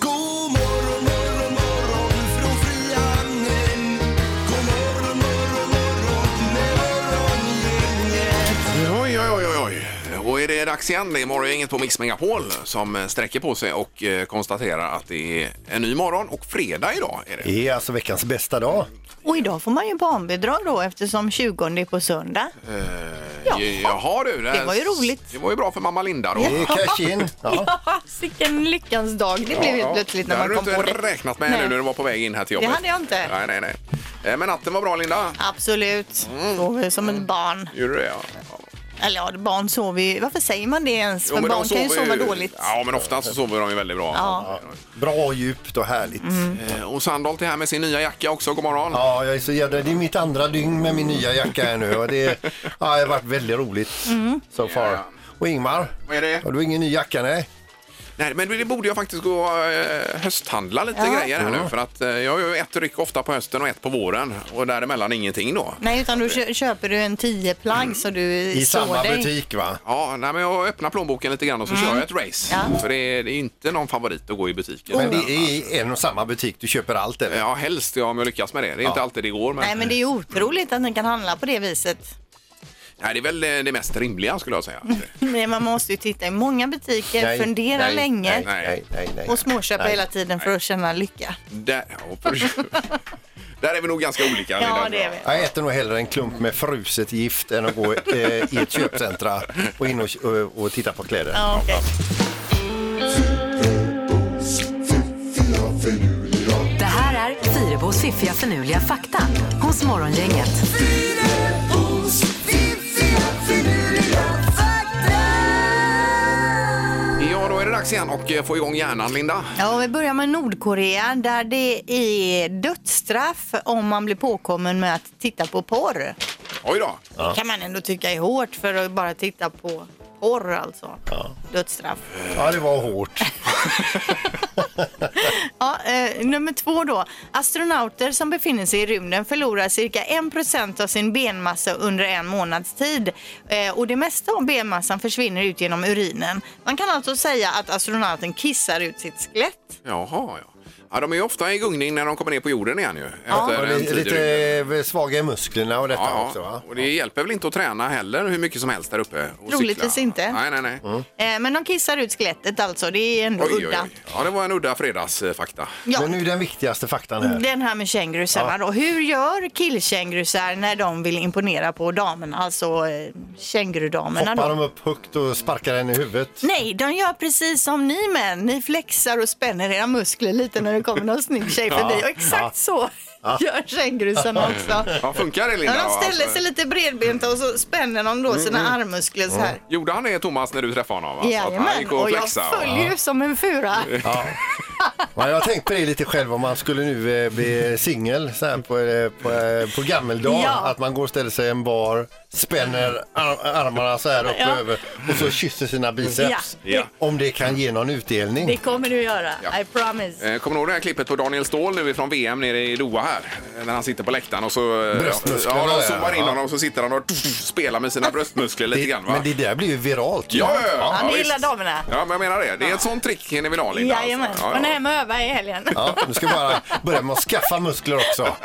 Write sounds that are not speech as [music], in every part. God morgon morgon morgon från Frihamnen. God morgon morgon morgon med morgongänget. Oj, oj, oj, oj, oj. Och är det dags igen? Det är morgongänget på Mix Megapol som eh, sträcker på sig och eh, konstaterar att det är en ny morgon och fredag idag är det. Det är alltså veckans bästa dag. Och idag får man ju barnbidrag då eftersom 20 är på söndag. Ja. Jaha du. här- Det var ju roligt. Det var ju bra för mamma Linda då. Det [laughs] är cash in. Ja. Ja, vilken lyckans dag det blev helt plötsligt när man kom Det på hade du det. inte räknat med nu när du var på väg in här till Det jobbet. hade jag inte. Nej, nej, nej. Eh, Men natten var bra Linda. Absolut. Sover som ett barn. Gjorde du det? Ja. Eller ja, barn sover ju... Varför säger man det ens? Jo, För de barn kan ju sover sova dåligt. Ja, men oftast så sover de ju väldigt bra. Ja. Bra och djupt och härligt. Mm. Eh, Och Sandholt är här med sin nya jacka också. God morgon. Ja, jag är så jädra, det är mitt andra dygn med min nya jacka här nu och det, ja, det har varit väldigt roligt Mm. so far. Ja. Och Ingmar, Vad är det? har du ingen ny jacka? Nej? Nej, men det borde jag faktiskt gå eh, hösthandla lite Ja. grejer här nu. För att eh, jag gör ju ett ryck ofta på hösten och ett på våren. Och däremellan ingenting då. Nej, utan då kö- köper du en 10 plagg så du I sår samma dig. butik va? Ja, nej, men jag öppnar plånboken lite grann och så kör jag ett race. Mm. Ja. För det är, det är inte någon favorit att gå i butiken. Men det är i en och samma butik du köper allt eller? Ja, helst ja, om jag lyckas med det. Det är inte alltid det går. Men... Nej, men det är ju otroligt att den kan handla på det viset. Nej, det är väl eh, det mest rimliga skulle jag säga. Men man måste ju titta i många butiker, Nej, fundera nej, länge Nej, nej, nej, nej. och småköpa Nej. hela tiden för att känna lycka. Där, ja, [laughs] för... Där är vi nog ganska olika. Ja, Linda. det är vi. Jag äter nog hellre en klump med fruset gift än att gå eh, i ett köpcentra och in och, och, och titta på kläder. Ja, okej. Det här är Fyrabos fiffiga förnuliga fakta hos Morgongänget. Fyrabos fiffiga finurliga fakta. Ja, då är det dags igen och eh, få igång hjärnan, Linda. Ja, och vi börjar med Nordkorea där det är dödsstraff om man blir påkommen med att titta på porr. Oj då. Det kan man ändå tycka är hårt för att bara titta på porr alltså. Dödsstraff. Ja, det var hårt. Ja, eh, nummer två då. Astronauter som befinner sig i rymden förlorar cirka 1 av sin benmassa under en månads tid. Eh, och det mesta av benmassan försvinner ut genom urinen. Man kan alltså säga att astronauten kissar ut sitt skelett. Jaha, ja. Ja, de är ju ofta i gungning när de kommer ner på jorden igen ju. Efter Och en tid i det är rymden. lite eh, svaga i musklerna och detta Ja, också va? och det hjälper väl inte att träna heller hur mycket som helst där uppe? Och Troligtvis cykla. inte. Nej, nej, nej. Mm. Eh, men de kissar ut skelettet alltså. Det är ändå Oj, oj, udda. oj. Ja, det var en udda fredagsfakta. Ja. Men nu är den viktigaste faktan Eh. här. Den här med kängurusarna då. Hur gör killkängurusar när de vill imponera på damerna, alltså eh, kängurudamerna Hoppar då? de upp högt och sparkar den i huvudet? Nej, de gör precis som ni män. Ni flexar och spänner era muskler lite när det kommer någon snygg [laughs] tjej förbi. Och exakt så gör kängurusarna också. Ja, funkar det Linda? Ja, de ställer Alltså, Mm, sig lite bredbenta och så spänner de då sina armmuskler så här. Gjorde han det Thomas när du träffade honom? Alltså, att han Jajamän, gick och och jag flexade? följer ju som en fura. Ja, jag har tänkt på det lite själv om man skulle nu eh, bli singel så här på, eh, på, eh, på gammeldag. Ja. Att man går och ställer sig i en bar, spänner ar armarna så här upp Ja. och över och så kysser sina biceps. Ja. Ja. Om det kan ge någon Det utdelning. kommer du göra, I promise. Eh, Kommer du ihåg det här klippet på Daniel Ståhl nu från VM nere i Doha här? När han sitter på läktaren och så... eh, Bröstmusklerna Ja, där, de zoomar in ja. honom och så sitter han och spelar med sina bröstmuskler lite grann va? Men det där blir ju viralt. ju. Ja, ja, ja. Han ja, gillar visst. damerna. Ja, men jag menar det. Det är ett sånt trick ni vill ha, Linda. alltså. Jajamän, Ja, hon är ja. hemma och övar i helgen. Ja, nu ska jag bara börja med att skaffa muskler också.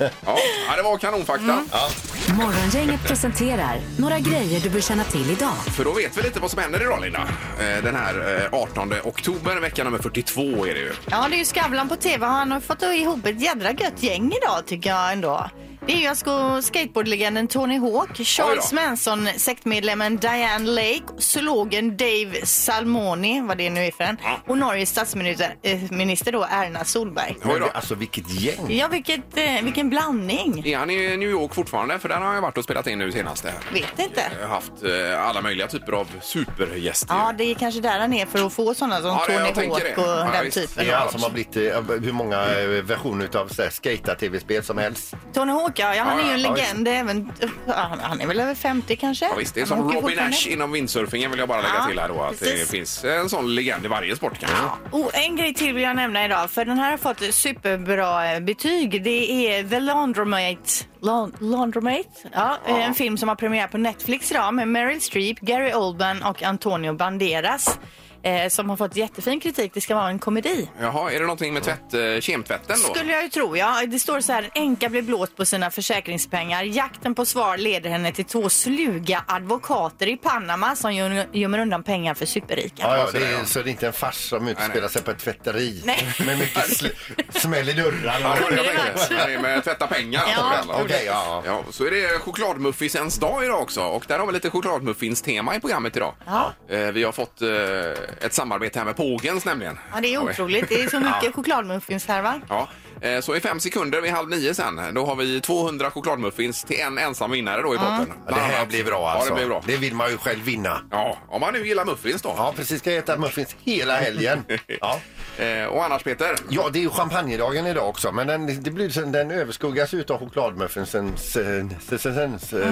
Ja. ja, det var kanonfakta. Mm. Ja. Morgongänget presenterar några grejer du bör känna till idag. För då vet vi lite vad som händer idag, Linda. Eh, Den här eh, 18 oktober, vecka nummer 42 är det ju. Ja, det är ju Skavlan på tv. Han har fått ihop ett jädra gött gäng idag tycker jag ändå. Det är ju alltså skateboardlegenden Tony Hawk, Charles Oj då. Manson, sektmedlemmen Diane Lake, zoologen Dave Salmoni, vad det nu är för en, och Norges statsminister eh, minister då, Erna Solberg. Oj Men, då. alltså vilket gäng. Ja, vilket, eh, vilken blandning. Är han i New York fortfarande? För där har jag varit och spelat in nu senast. det här. Vet inte. Jag har haft eh, alla möjliga typer av supergäster. Ja, det är kanske där han är för att få sådana som Ja, det- jag Tony tänker Hawk det. och Ja, den visst. typen. Det är han som har blivit eh, hur många eh, versioner av skata-tv-spel som helst. Tony Hawk tillbaka. Ja, han Ja, är ju en ja, legend. Även, ja, han han är väl över 50 kanske? Ja, visst, det är Han som åker Robin fortfarande. Nash inom windsurfingen vill jag bara lägga Ja, till här då att det precis. finns en sån legend i varje sport kanske. Och Oh, en grej till vill jag nämna idag, för den här har fått superbra eh, betyg. Det är The Laundromat. Laun- Laundromat? Ja, En film som har premiär på Netflix idag med Meryl Streep, Gary Oldman och Antonio Banderas. Eh, som har fått jättefin kritik. Det ska vara en komedi. Jaha, är det någonting med tvätt, eh, kemtvätten då? Skulle jag ju tro, ja. Det står så här, en änka blir blåst på sina försäkringspengar. Jakten på svar leder henne till två sluga advokater i Panama som göm- gömmer undan pengar för superrika. Ja, ja, Alltså, det är, så det är inte en fars som utspelar sig på ett tvätteri Nej. [laughs] med mycket sl- smäll i dörrarna. Ja, det Kunde var det varit? det. Nej, men tvätta pengar. Ja. alltså. Okej, ja. ja. Så är det chokladmuffinsens dag idag också och där har vi lite chokladmuffinstema i programmet idag. Ja. Eh, Vi har fått eh, ett samarbete här med Pågens nämligen. Ja, det är otroligt. Det är så mycket chokladmuffins här, va? Ja, eh, så i fem sekunder vid halv nio sen, då har vi 200 chokladmuffins till en ensam vinnare då i potten. Ja, Det här blir bra alltså. Ja, det blir bra. vill man ju själv vinna. Ja, om man nu gillar muffins då. Ja, precis. Ska jag äta muffins hela [laughs] helgen. Ja. Eh, och annars Peter? Ja, det är ju champagnedagen idag också, men den, det blir, sen- den överskuggas ju av chokladmuffinsens mm.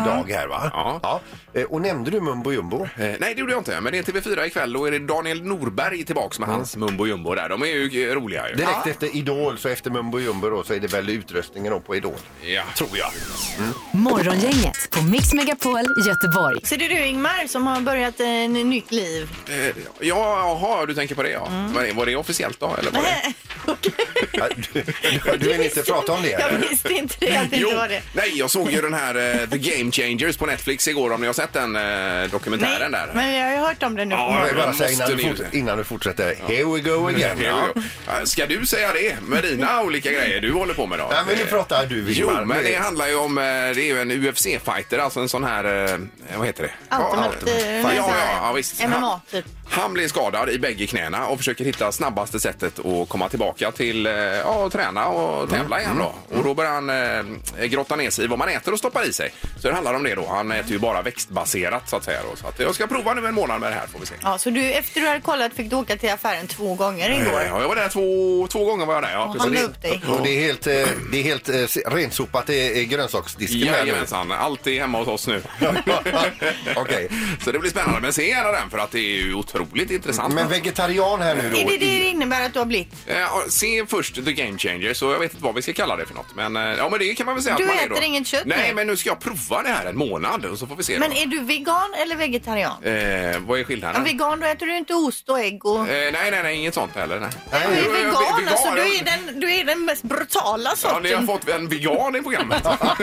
dag här va? Ja. Eh, Och nämnde du Mumbo Jumbo? Eh, nej, det gjorde jag inte. Men det är TV4 ikväll och är det Daniel Norberg tillbaks med hans Mumbo Jumbo där. De är ju eh, roliga ju. Direkt efter Idol, så efter Mumbo Jumbo då, så är det väl utröstningen då på Idol. Ja. Tror jag. Morgongänget på Mix Megapol Göteborg. Så det är du Ingmar som har börjat ett nytt liv. Eh, ja, jaha, du tänker på det ja. Mm. Var, det, var det officiellt då? Eller var det? Okej. Ja, Du, du, du vill inte prata [laughs] om det? Jag eller? visste inte det, att [laughs] det Jo, inte var det. nej, jag såg ju den här eh, The Game Changers på Netflix igår om ni har sett den eh, dokumentären där. men jag har ju hört om det nu. Ja, Jag Ja, vill bara men säga måste innan du, ni- forts- innan du fortsätter. Here we go again. Ja. Eh, Ska du säga det med dina olika grejer du håller på med då? Nej, men nu Eh, pratar du Jo, Ingmar. men det handlar ju om, eh, det är ju en UFC-fighter, alltså en sån här, eh, vad heter det? Ultimate, eh, Ja, vad ja, heter det? ja, visst. MMA, Han- typ. Han blir skadad i bägge knäna och försöker hitta snabbaste sättet att komma tillbaka till eh, ja, att träna och tävla igen då. Och då börjar han eh, grotta ner sig i vad man äter och stoppar i sig. Så det handlar om det då. Han äter ju bara växtbaserat så att säga då. Så att jag ska prova nu en månad med det här får vi se. Ja, så du, efter du hade kollat fick du åka till affären två gånger Ja, igår. Eh, jag var där två, två gånger var jag där. Ja, Och precis. handla upp dig. Och det är helt, eh, det är helt eh, se- rensopat i i grönsaksdisken här nu. Jajamensan, allt är hemma hos oss nu. Okej. [laughs] Så det blir spännande. Men se gärna den för att det är ju otroligt intressant. Men vegetarian här nu då? Är det det i- det innebär att du har blivit? Eh, ja, se först The Game Changer, så jag vet inte vad vi ska kalla det för något. Men, eh, ja, men det kan man väl säga Du att man är äter då. inget kött Nej, nu? men nu ska jag prova det här en månad och så får vi se. Men då. är du vegan eller vegetarian? Eh, vad är Ja, skillnaden? vegan, då äter du inte ost och ägg och... eh, nej, nej, nej, inget sånt heller. Nej. Du är Eh, vegan, vegan, alltså. Du ja. är, den, du är den mest brutala Ja, ni har sorten. fått en vegan i programmet. Ja,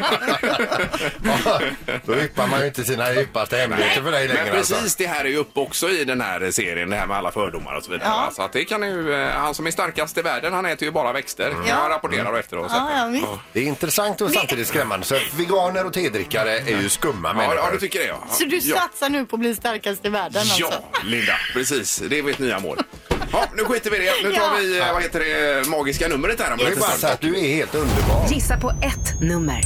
Då yppar man ju inte sina djupaste hemligheter för dig Men längre. precis, Alltså. det här är ju uppe också i den här serien, det här med alla fördomar och så vidare. Ja. Så att det kan ju, eh, han som är starkast i världen, han äter ju bara växter. Mm. Ja. Han rapporterar efteråt. Ja, ja, visst. Det är intressant och samtidigt skrämmande. Så veganer och tedrickare är ju skumma Ja, människor. ja, du tycker det ja. Så du ja. satsar nu på att bli starkast i världen Ja, alltså? Linda. [laughs] Precis, det är mitt nya mål. Ja, nu skiter vi i det. Nu tar Ja. vi, eh, vad heter det, magiska numret här om Jag en vill bara liten säga stund. att du är helt underbar. Gissa på ett nummer.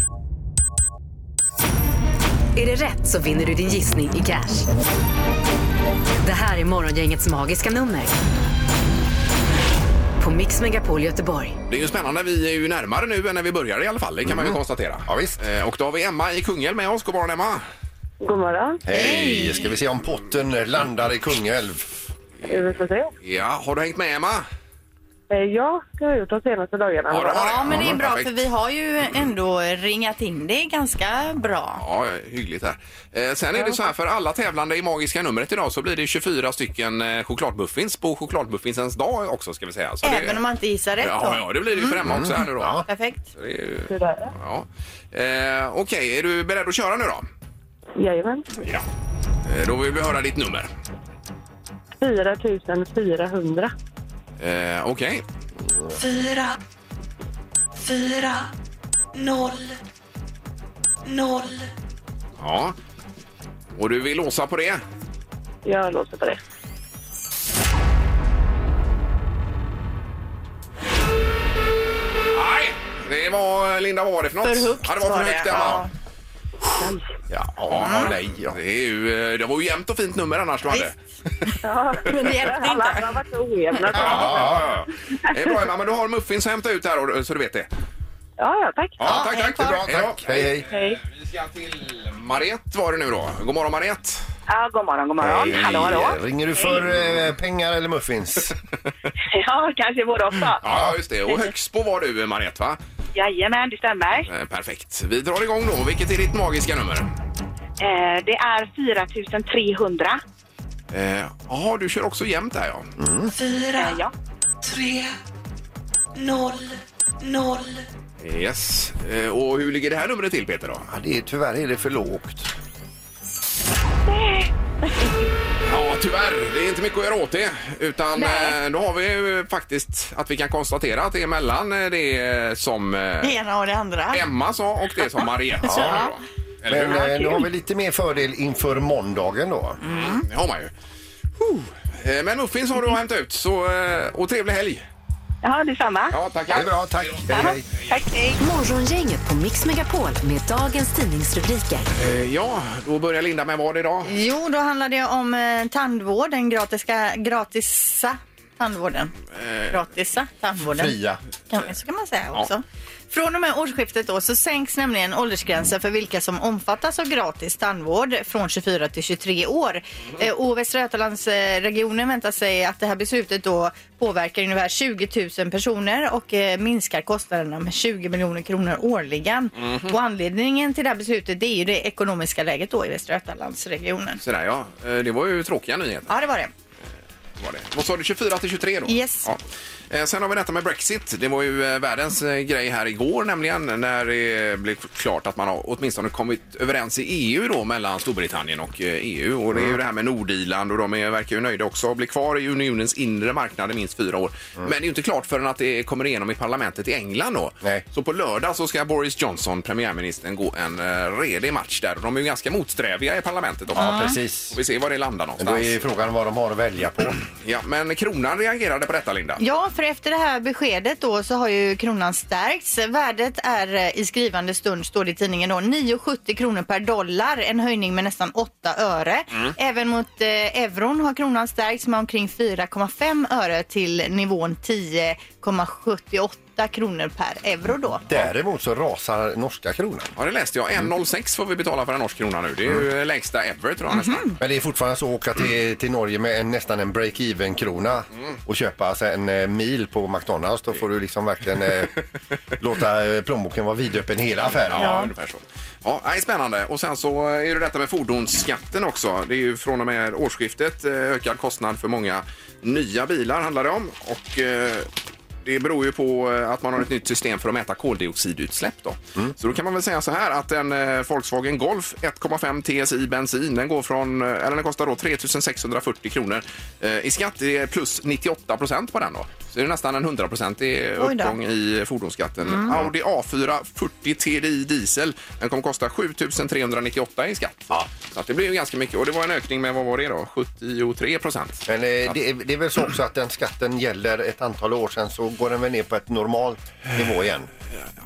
Är det rätt så vinner du din gissning i cash. Det här är Morgongängets magiska nummer. På Mix Megapol Göteborg. Det är ju spännande. Vi är ju närmare nu än när vi började i alla fall. Det kan man ju konstatera. Ja, visst. Eh, Och då har vi Emma i Kungälv med oss. God morgon Emma! God morgon. Hej! Ska vi se om potten landar i Kungälv? Vi får se. Ja, har du hängt med Emma? Eh, Ja, det har jag gjort de senaste dagarna. Ja, det har Ja, men det är bra perfekt. för vi har ju ändå ringat in det ganska bra. Ja, hyggligt här. Eh, Sen är det så här, för alla tävlande i Magiska numret idag så blir det 24 stycken eh, chokladmuffins på chokladmuffinsens dag också ska vi säga. Så det... Även om man inte gissar rätt Ja, ja, då. det blir det ju för Emma också här nu då. Ja. Perfekt. Så Det är ju... Det där. Ja. Eh, Okej, är du beredd att köra nu då? Jajamän. Ja. Eh, då vill vi höra ditt nummer. 4 400. Eh, Okej. Fyra, fyra, noll, noll. Ja. Och du vill låsa på det? Jag låser på det. Nej! Det var, eh, Linda, vad var det för något? För högt ja, Mm. det var för högt, Emma. Ja. Ja, ja, nej. ja. Det, är ju, eh, det var ju jämnt och fint nummer annars du hade. Ja. Men det hjälpte Alla andra inte. har varit så ojämna. Ja, ja, ja. Det är bra, Emma, men eh, du har muffins att hämta ut här och- så du vet det. Ja, ja, tack. Ja, tack, tack. Det är bra. Tack. Hej, hej. Hej. Vi ska till Mariette var det nu då. God morgon Mariette. Ja, god morgon, god morgon. Hallå, hallå. Ringer du för eh, pengar eller muffins? Ja, kanske både och. då. Ja, just det. Och Högsbo var du Mariette va? Jajamän, det stämmer. Eh, Perfekt. Vi drar igång då. Vilket är ditt magiska nummer? Eh, det är 4300. Eh, Jaha, du kör också jämnt där ja. fyra, Eh, ja. tre, noll, noll. Yes. Eh, och hur ligger det här numret till Peter då? Ja, det är, tyvärr är det för lågt. Ja, tyvärr. Det är inte mycket att göra åt det. Utan eh, då har vi ju faktiskt att vi kan konstatera att det är mellan eh, det som Det eh, ena och det andra. Emma sa och det som Mariette sa. [laughs] Ja. då. Eller Men hur? eh, nu har vi lite mer fördel inför måndagen då. Det har man ju. Huh. Eh, Men muffins har du att hämta ut. Så, eh, och trevlig helg! Jaha, detsamma. Ja, tack. Det är bra, tack. Hej, hej. Tack, hej. Morgongänget på Mix Megapol med dagens tidningsrubriker. Eh, Ja, då börjar Linda med vad idag? Jo, då handlar det om eh, tandvård, den gratiska, gratisa tandvården. Eh, Gratisa tandvården. Fria. Kan, så kan man säga också. Från och med årsskiftet då så sänks nämligen åldersgränsen för vilka som omfattas av gratis tandvård från 24 till 23 år. Eh, Och Västra Götalandsregionen väntar sig att det här beslutet då påverkar ungefär 20 000 personer och eh, minskar kostnaderna med 20 miljoner kronor årligen. Och anledningen till det här beslutet det är ju det ekonomiska läget då i Västra Götalandsregionen. Sådär ja, Eh, det var ju tråkiga nyheter. Ja, det var det. Var det. Vad sa du, 24 till 23 då? Yes. Ja. Eh, Sen har vi detta med Brexit. Det var ju eh, världens eh, grej här igår nämligen när det eh, blev klart att man har åtminstone kommit överens i EU då mellan Storbritannien och eh, EU. Och det Mm. är ju det här med Nordirland och de är, verkar ju nöjda också att bli kvar i unionens inre marknad i minst fyra år. Mm. Men det är ju inte klart förrän att det kommer igenom i parlamentet i England då. Nej. Så på lördag så ska Boris Johnson, premiärministern, gå en eh, redig match där. Och de är ju ganska motsträviga i parlamentet också. Ja, precis. Och vi ser var det landar Men någonstans. då är frågan vad de har att välja på. Ja, men kronan reagerade på detta, Linda. Ja, för efter det här beskedet då så har ju kronan stärkts. Värdet är eh, i skrivande stund, står det i tidningen då, 9,70 kronor per dollar. En höjning med nästan 8 öre. Mm. Även mot eh, euron har kronan stärkts med omkring 4,5 öre till nivån 10,78 kronor per euro då. Däremot så rasar norska kronan. Ja, det läste jag. 1,06 får vi betala för en norsk krona nu. Det är ju lägsta ever, tror jag nästan. Men det är fortfarande så att åka till, till Norge med en, nästan en break-even-krona Mm. och köpa alltså en eh, mil på McDonalds. Då får du liksom [laughs] verkligen eh, låta eh, plånboken vara vidöppen hela affären. Ja, ungefär så. Ja, nej, spännande. Och sen så är det detta med fordonsskatten också. Det är ju från och med årsskiftet eh, ökad kostnad för många nya bilar handlar det om. Och eh, det beror ju på eh, att man har ett nytt system för att mäta koldioxidutsläpp då. Så då kan man väl säga så här att en eh, Volkswagen Golf 1,5 TSI bensin, den går från, eh, eller den kostar då 3 640 kronor eh, i skatt. Det är plus 98 procent på den då. Så det är nästan en 100 procent Oj då. Mm. uppgång i fordonsskatten. Audi A4 40 TDI diesel. Den kommer kosta 7 398 i skatt. Så att det blir ju ganska mycket. Och det var en ökning med, vad var det då? 73 procent. Men eh, det, är- det är väl så också att den skatten gäller ett antal år sen så går den väl ner på ett normal nivå igen.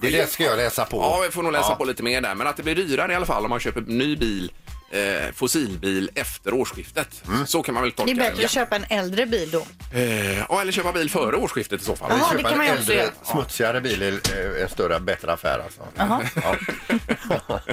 Det, det ska jag läsa på. Ja, vi får nog läsa Ja. på lite mer där. Men att det blir dyrare i alla fall om man köper ny bil, eh, fossilbil, efter årsskiftet. Mm. Så kan man väl Det tolka är bättre Ja. att köpa en äldre bil då. Eh, ja, eller köpa bil före årsskiftet i så fall. Jaha. Köpa det kan en man ju också äldre, göra. smutsigare bil är eh, en större, bättre affär alltså. Ja. [laughs] [laughs]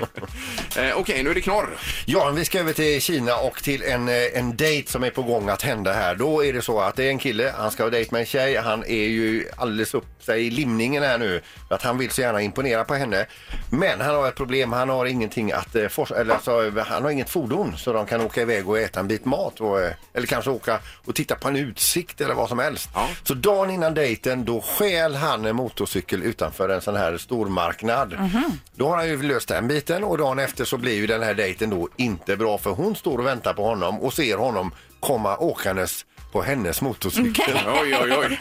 Eh, Okej, nu är det knorr. Ja, vi ska över till Kina och till en, eh, en dejt som är på gång att hända här. Då är det så att det är en kille, han ska ha dejt med en tjej. Han är ju alldeles upp sig i limningen här nu. för Att han vill så gärna imponera på henne. Men han har ett problem, han har ingenting att eh, forska, eller alltså, han har inget fordon så de kan åka iväg och äta en bit mat. Och, eh, eller kanske åka och titta på en utsikt eller vad som helst. Ja. Så dagen innan dejten då stjäl han en motorcykel utanför en sån här stormarknad. Mhm. Då har han ju löst den biten och dagen efter så blir ju den här dejten då inte bra för hon står och väntar på honom och ser honom komma åkandes på hennes motorcykel. [laughs] Oj, oj, oj.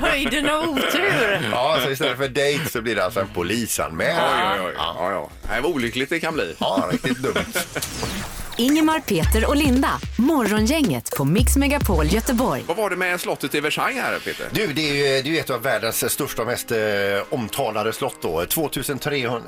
Höjden av otur! Ja, så istället för dejt så blir det alltså en polisanmälan. oj, oj, oj. Ja, ja. Nej, vad olyckligt det kan bli. Ja, riktigt dumt. Ingemar, Peter och Linda. Morgongänget på Mix Megapol Göteborg. Vad var det med slottet i Versailles här, Peter? Du, det är ju det är ju ett av världens största och mest eh, omtalade slott då. 2300,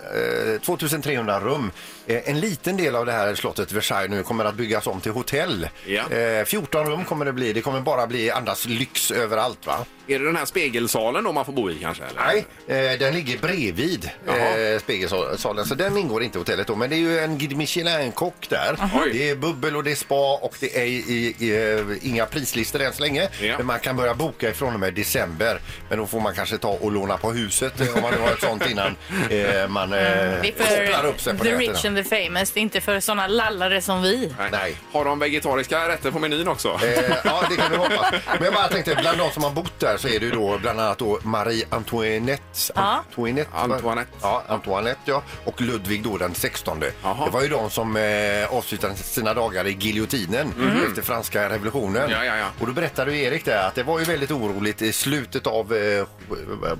eh, 2300 rum. Eh, en liten del av det här slottet Versailles nu kommer att byggas om till hotell. Ja. Eh, 14 rum kommer det bli. Det kommer bara bli andas lyx överallt va? Är det den här spegelsalen då man får bo i kanske? Eller? Nej, eh, den ligger bredvid Jaha. eh, spegelsalen, så den ingår inte i hotellet då. Men det är ju en Guide Michelin-kock där. Oj. Det är bubbel och det är spa och det är i, i, eh, inga prislistor än så länge. Ja. Men man kan börja boka ifrån och med december. Men då får man kanske ta och låna på huset eh, om man nu har ett sånt innan eh, man eh, Det kopplar upp sig är på för Mm, the nätterna. rich and the famous, det är inte för såna lallare som vi. Nej. Har de vegetariska rätter på menyn också? Eh, ja, det kan vi hoppas. Men jag bara tänkte, bland de som har bott där så är det ju då bland annat då Marie Antoinette. Antoinette, va? Antoinette. Ja, Antoinette, ja. Och Ludvig då den 16. Jaha. Det var ju de som eh, avslutade sina dagar i giljotinen efter franska revolutionen. Mhm. Ja, ja, ja. Och då berättade ju Erik där att det var ju väldigt oroligt i slutet av, eh,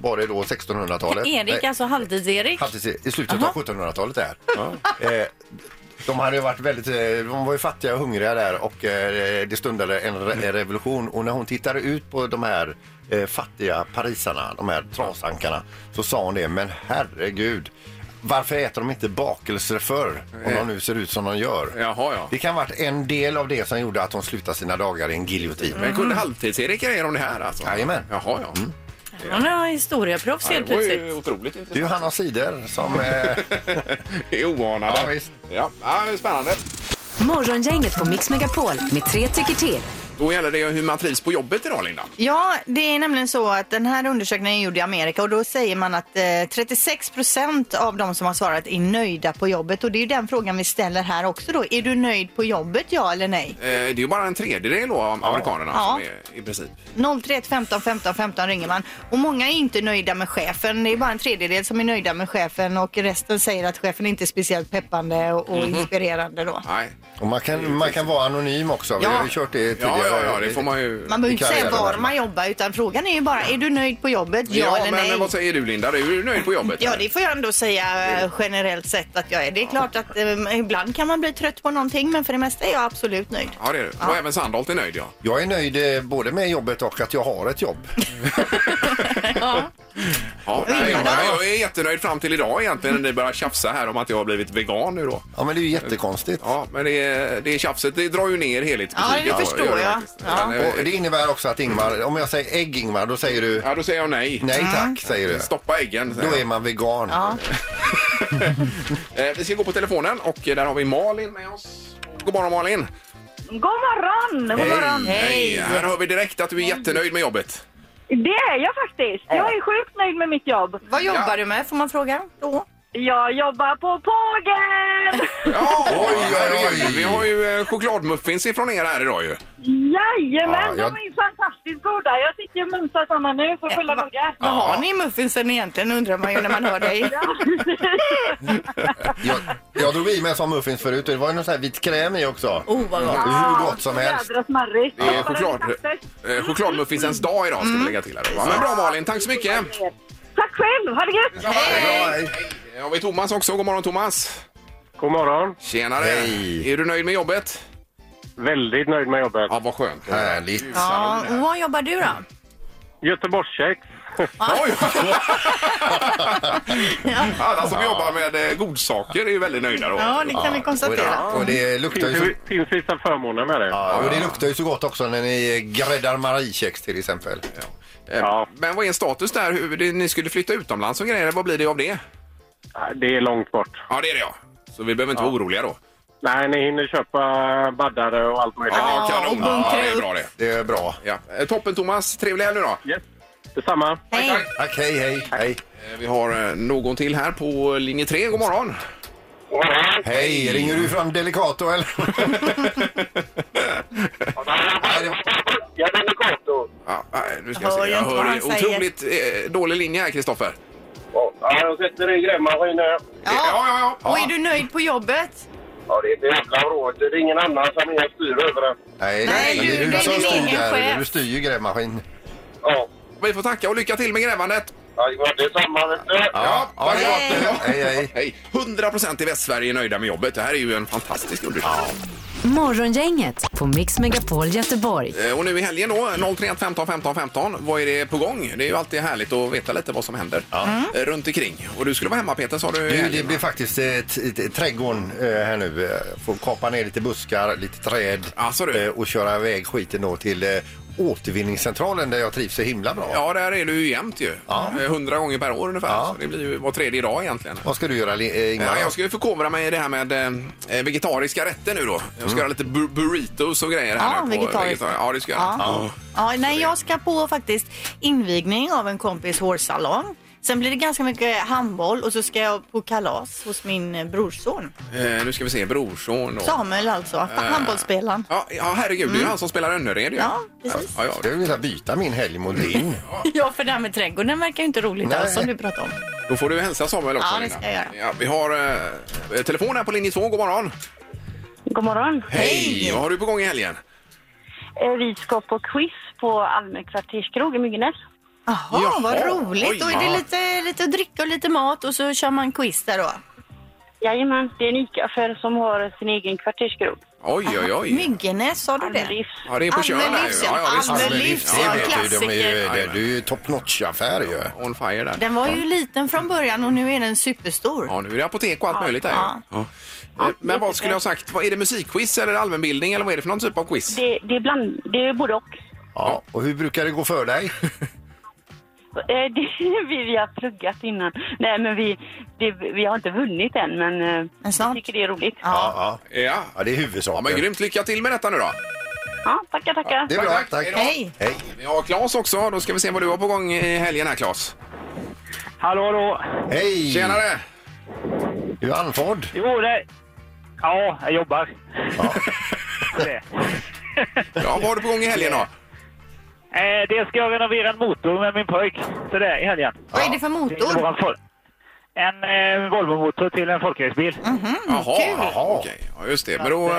var det då 1600-talet? Erik, Nej, alltså halvtids-Erik. faktiskt i slutet Jaha. av 1700-talet där. Eh, de hade ju varit väldigt, eh, de var ju fattiga och hungriga där och eh, det stundade en re- en revolution och när hon tittade ut på de här eh, fattiga parisarna, de här trasankarna, så sa hon det, men herregud, varför äter de inte bakelser förr om de nu ser ut som de gör? Jaha, ja. Det kan ha varit en del av det som gjorde att hon slutade sina dagar i en giljotin. Men kunde halvtids-Erik grejer om det här alltså? Mm. Jajamän. Mm. Jaha, ja. Hon är historieproffs Ja, helt Det var ju plötsligt. otroligt Det är intressant. [laughs] ju Hanna Sider som... Eh, Det är oanade. Ja, visst. Ja, ja, det är spännande. Morgongänget på Mix Megapol med tre tycker till. Då gäller det ju hur man trivs på jobbet idag, Linda. Eh, Ja, det är nämligen så att den här undersökningen är gjord i Amerika och då säger man att eh, 36 procent av de som har svarat är nöjda på jobbet och det är ju den frågan vi ställer här också då. Är du nöjd på jobbet, ja eller nej? Eh, Det är ju bara en tredjedel då av amerikanerna Ja. som är i princip. 031 15 15 15 ringer man. Och många är inte nöjda med chefen. Det är bara en tredjedel som är nöjda med chefen och resten säger att chefen inte är speciellt peppande och, och Mhm. inspirerande då. Nej. och man, kan, man kan vara anonym också. Vi har ju kört det tidigare. Ja, ja, ja, det får man ju. Man behöver Det inte kan säga jag var göra. man jobbar utan frågan är ju bara, är du nöjd på jobbet, ja, Ja, eller men nej? vad säger du Linda? Är du nöjd på jobbet? Ja, det får jag ändå säga eh, generellt sett att jag är. Det är klart att eh, ibland kan man bli trött på någonting men för det mesta är jag absolut nöjd. Ja, det är du. Och även Sandholt är nöjd, ja. Jag är nöjd eh, både med jobbet och att jag har ett jobb. ja nej, jag, Linda? jag är jättenöjd fram till idag egentligen när ni börjar tjafsa här om att jag har blivit vegan nu då. Ja, men det är ju jättekonstigt. Ja, men det, är- det är tjafset, det drar ju ner helhetsbetyget. Ja, det förstår gör det jag. faktiskt. Ja. Men, eh, Och det innebär också att Ingmar, om jag säger ägg Ingmar, då säger du Ja, då säger jag nej. nej tack, säger du. Stoppa äggen. säger Då jag. är man vegan. Ja. Eh, vi ska gå på telefonen och där har vi Malin med oss. God morgon Malin! God morgon! God morgon. Hej! Här hör vi direkt att du är jättenöjd med jobbet. Det är jag faktiskt. Jag är sjukt nöjd med mitt jobb. Vad jobbar Ja. du med får man fråga då? Jag jobbar på [laughs] Pågen! Ja, oj, oj, oj. Vi har ju eh, chokladmuffins ifrån er här idag ju. Jajamän, Ja, jag- de är fantastiskt goda. Jag sitter och mumsar såna nu för fulla Va- dagar. Eh, Vad har ni i muffinsen egentligen undrar man ju när man hör dig. [laughs] Jag, jag drog i mig en sån muffins förut och det var ju någon sån här vit kräm i också. Oh, vad gott. Hur gott som helst. Jädra smarrigt. Det är choklad, eh, chokladmuffinsens dag idag ska vi lägga till här. då, va? Men bra Malin, tack så mycket! Mm. Tack själv, ha det gött! Hej! Har vi Thomas också? God morgon Thomas! God morgon. Tjenare! Hej. Är du nöjd med jobbet? Väldigt nöjd med jobbet. Ja, vad skönt. Härligt. Ja, och vad jobbar du då? Göteborgscheck. Oj! Alla som jobbar med eh, godsaker är ju väldigt nöjda då. Ja, det kan vi konstatera. Och det luktar ju Finns, så... ju- finns vissa förmåner med det. Ja, och det luktar ju så gott också när ni gräddar Mariekex till exempel. Eh, Ja. Men vad är status där? Hur, det- ni skulle flytta utomlands och grejer. Vad blir det av det? Det är långt bort. Ja, det är det ja. Så vi behöver inte vara oroliga då. Nej, ni hinner köpa baddare och allt möjligt. Ja, kanon. och bunkra Ja, det är upp. bra det. Det är bra. Ja. Eh, Toppen Thomas, trevlig helg nu då. Yes. Detsamma. Hej. Tack, hej, hej. Hej, Eh, Vi har eh, någon till här på linje 3. God morgon. hej. ringer du fram Delicato eller? [laughs] Nej, det var- Jag är Delicato. [laughs] Ja, nej, nu ska Jag jag hör se. ju Jag inte vad hör han ju säger. otroligt eh, dålig linje här Kristoffer. Ja, jag sätter i grävmaskinen. Ja, ja, ja. Och är du nöjd på jobbet? Ja, det är ett jävla bråk. Det är ingen annan som är styr över det. Nej, Nej, det är du- du, det är som din styr egen där. chef. Du styr ju grävmaskin. Ja. Vi får tacka och lycka till med grävandet. Ja, det är samma, vet du. Ja, tack det så var- mycket. Hej, hej. Hej. 100 i Västsverige är nöjda med jobbet. Det här är ju en fantastisk undersökning. Morgongänget på Mix Megapol Göteborg. Eh, Och nu i helgen då, 031 15 15 15. Vad är det på gång? Det är ju alltid härligt att veta lite vad som händer eh, runt omkring. Och du skulle vara hemma Peter sa du? i Du, helgen, det va? blir faktiskt eh, t- t- trädgården eh, här nu. Eh, Får kapa ner lite buskar, lite träd eh, och köra iväg skiten då till eh, återvinningscentralen där jag trivs så himla bra. Ja, där är du ju jämt ju. Eh, 100 gånger per år ungefär. Så det blir ju var tredje dag egentligen. Vad ska du göra Li- eh, Ingmar? Ja, jag ska ju förkovra mig i det här med eh, vegetariska rätter nu då. Jag ska göra lite bu- burritos och grejer här Ja, nu. vegetariskt. vegetar- Ja, det ska jag. Ja. Ja. Ja, nej, jag ska på faktiskt invigning av en kompis hårsalong. Sen blir det ganska mycket handboll och så ska jag på kalas hos min eh, brorson. Eh, nu ska vi se, brorson då. Samuel alltså, Eh. handbollsspelaren. Ja, ja herregud, det är ju han som spelar Önnered ju. Ja, precis. Ja, ja. Jag vill byta min helg mot din. Ja, för det här med trädgården verkar ju inte roligt Nej. alls som du pratar om. Då får du hälsa Samuel också. Ja, det Linda. ska jag göra. Ja, vi har eh, telefon här på linje 2. God morgon. God morgon. Hej! Vad har du på gång i helgen? Eh, Vi ska på quiz på Alme kvarterskrog i Myggenäs. Jaha, vad roligt. Oj. då är Ja. det lite, lite att dricka och lite mat och så kör man quiz där då. Jajamän, det är en ICA-affär som har sin egen kvarterskrog. Oj, oj, Ah, oj. Myggenäs, sa du det? Ja, det är på Tjörn där ju. Almelivs, ja. Almelivs, Almelivs, ja. det vet du. De är ju- Klassiker. det- Det är ju top notch-affär ju. On fire där. Den var ju liten från början och nu är den superstor. Ja, nu är det apotek och allt möjligt där ju. Ja. ja. Eh, Men vad skulle jag ha sagt? Vad- Är det musikquiz eller allmänbildning eller vad är det för någon typ av quiz? Det, det, är bland, det är både och. [laughs] Ja, och hur brukar det gå för dig? Eh, Det, vi, vi har pluggat innan. Nej, men vi, det, vi har inte vunnit än, men eh, vi tycker det är roligt. Ja, ja. ja. det är huvudsaken. Ja, men grymt. Lycka till med detta nu då. Ja, tackar, tackar. det är bra. Tack, tack. Hej. Hej. Vi har Claes också. Då ska vi se vad du har på gång i helgen här, Claes. Hallå, hallå! Hej! Tjenare! Du är andfådd. Jo, det... Ja, jag jobbar. Det. Ja, vad har du på gång i helgen Mm, då? Eh, det ska jag renovera en motor med min pojk. Så det är i helgen. Vad är det för motor? Till våran fol- en eh, Volvo-motor till en folkracebil. Jaha, jaha. okej. Ja, just det. Men då... eh,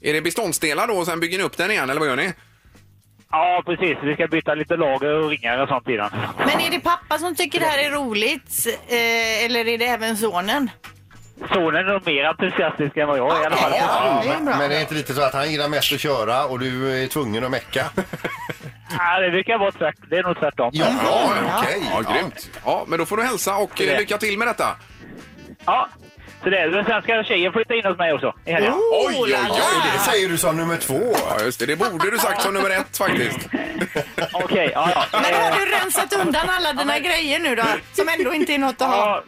Är det beståndsdelar då och sen bygger ni upp den igen, eller vad gör ni? Ja, precis. Vi ska byta lite lager och ringar och sånt i den. Men är det pappa som tycker det här är roligt? Eh, eller är det även sonen? Sonen är nog mer entusiastisk än vad jag är i alla fall. Men det är inte lite så att han gillar mest att köra och du är tvungen [laughs] att mecka? Nej, det brukar vara tvärt, det är nog tvärtom. Ja, okej. Ja, grymt. Ja, men då får du hälsa och eh, lycka till med detta. Ja, så det är det. Sen ska tjejen flytta in hos mig också i Oh, helgen. Oh. Oj, oj, oj! Det säger du som nummer två. Ja, just det. Det borde du sagt som nummer ett faktiskt. Okej, ja, Eh, ja. Men har du rensat undan alla dina grejer nu då? Som ändå inte är något att ha?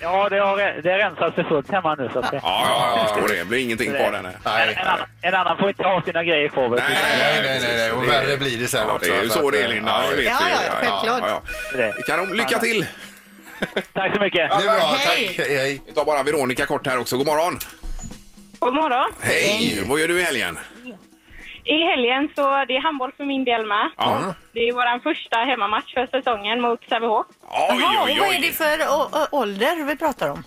Ja, det har, re- det har rensat sig fullt hemma nu. Så att det... Ja, ja, jag förstår det. Det blir ingenting kvar där. nej. En, annan, en annan får inte ha sina grejer kvar. vet du. Nej, nej, nej, nej. Och värre blir det sen Ja, också. eh, det är ju så det är, Linda. Det vet Ja, vi. ja, självklart. ja. Kanon, lycka till! Tack så mycket. Det är bra, Hej. tack. Hej. Vi tar bara Veronica kort här också. God morgon! God morgon. Hej! Vad gör du i helgen? I helgen så det är handboll för min del med. Ja. Det är vår första hemmamatch för säsongen mot Sävehof. Jaha, och vad är det för å- å- ålder vi pratar om?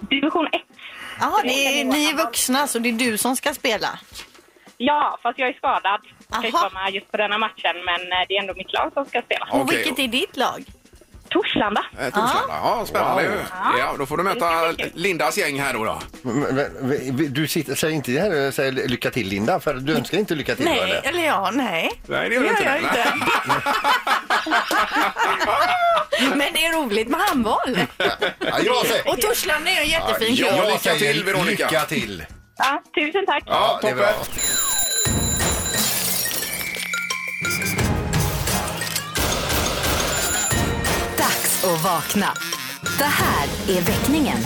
Division 1. Jaha, det är, ni är vuxna så det är du som ska spela? Ja, fast jag är skadad. Jag ska inte vara med just på denna matchen, men eh, det är ändå mitt lag som ska spela. Och Okej. vilket är ditt lag? Torslanda. Eh, Torslanda. Ja, spännande Wow. ju. Ja, då får du möta Lindas gäng här då. då. Men, men, men, du sitter, säger inte det här, säger lycka till Linda, för du önskar inte lycka till va, Nej, eller? eller ja, nej. Nej, det gör inte jag det. inte. [laughs] Men det är roligt med handboll. jag säger- och Torslanda är en jättefin Ja, klubb. lycka till Veronica! Lycka till! Ja, tusen tack. Ja, det är bra. Dags att vakna. Det här är väckningen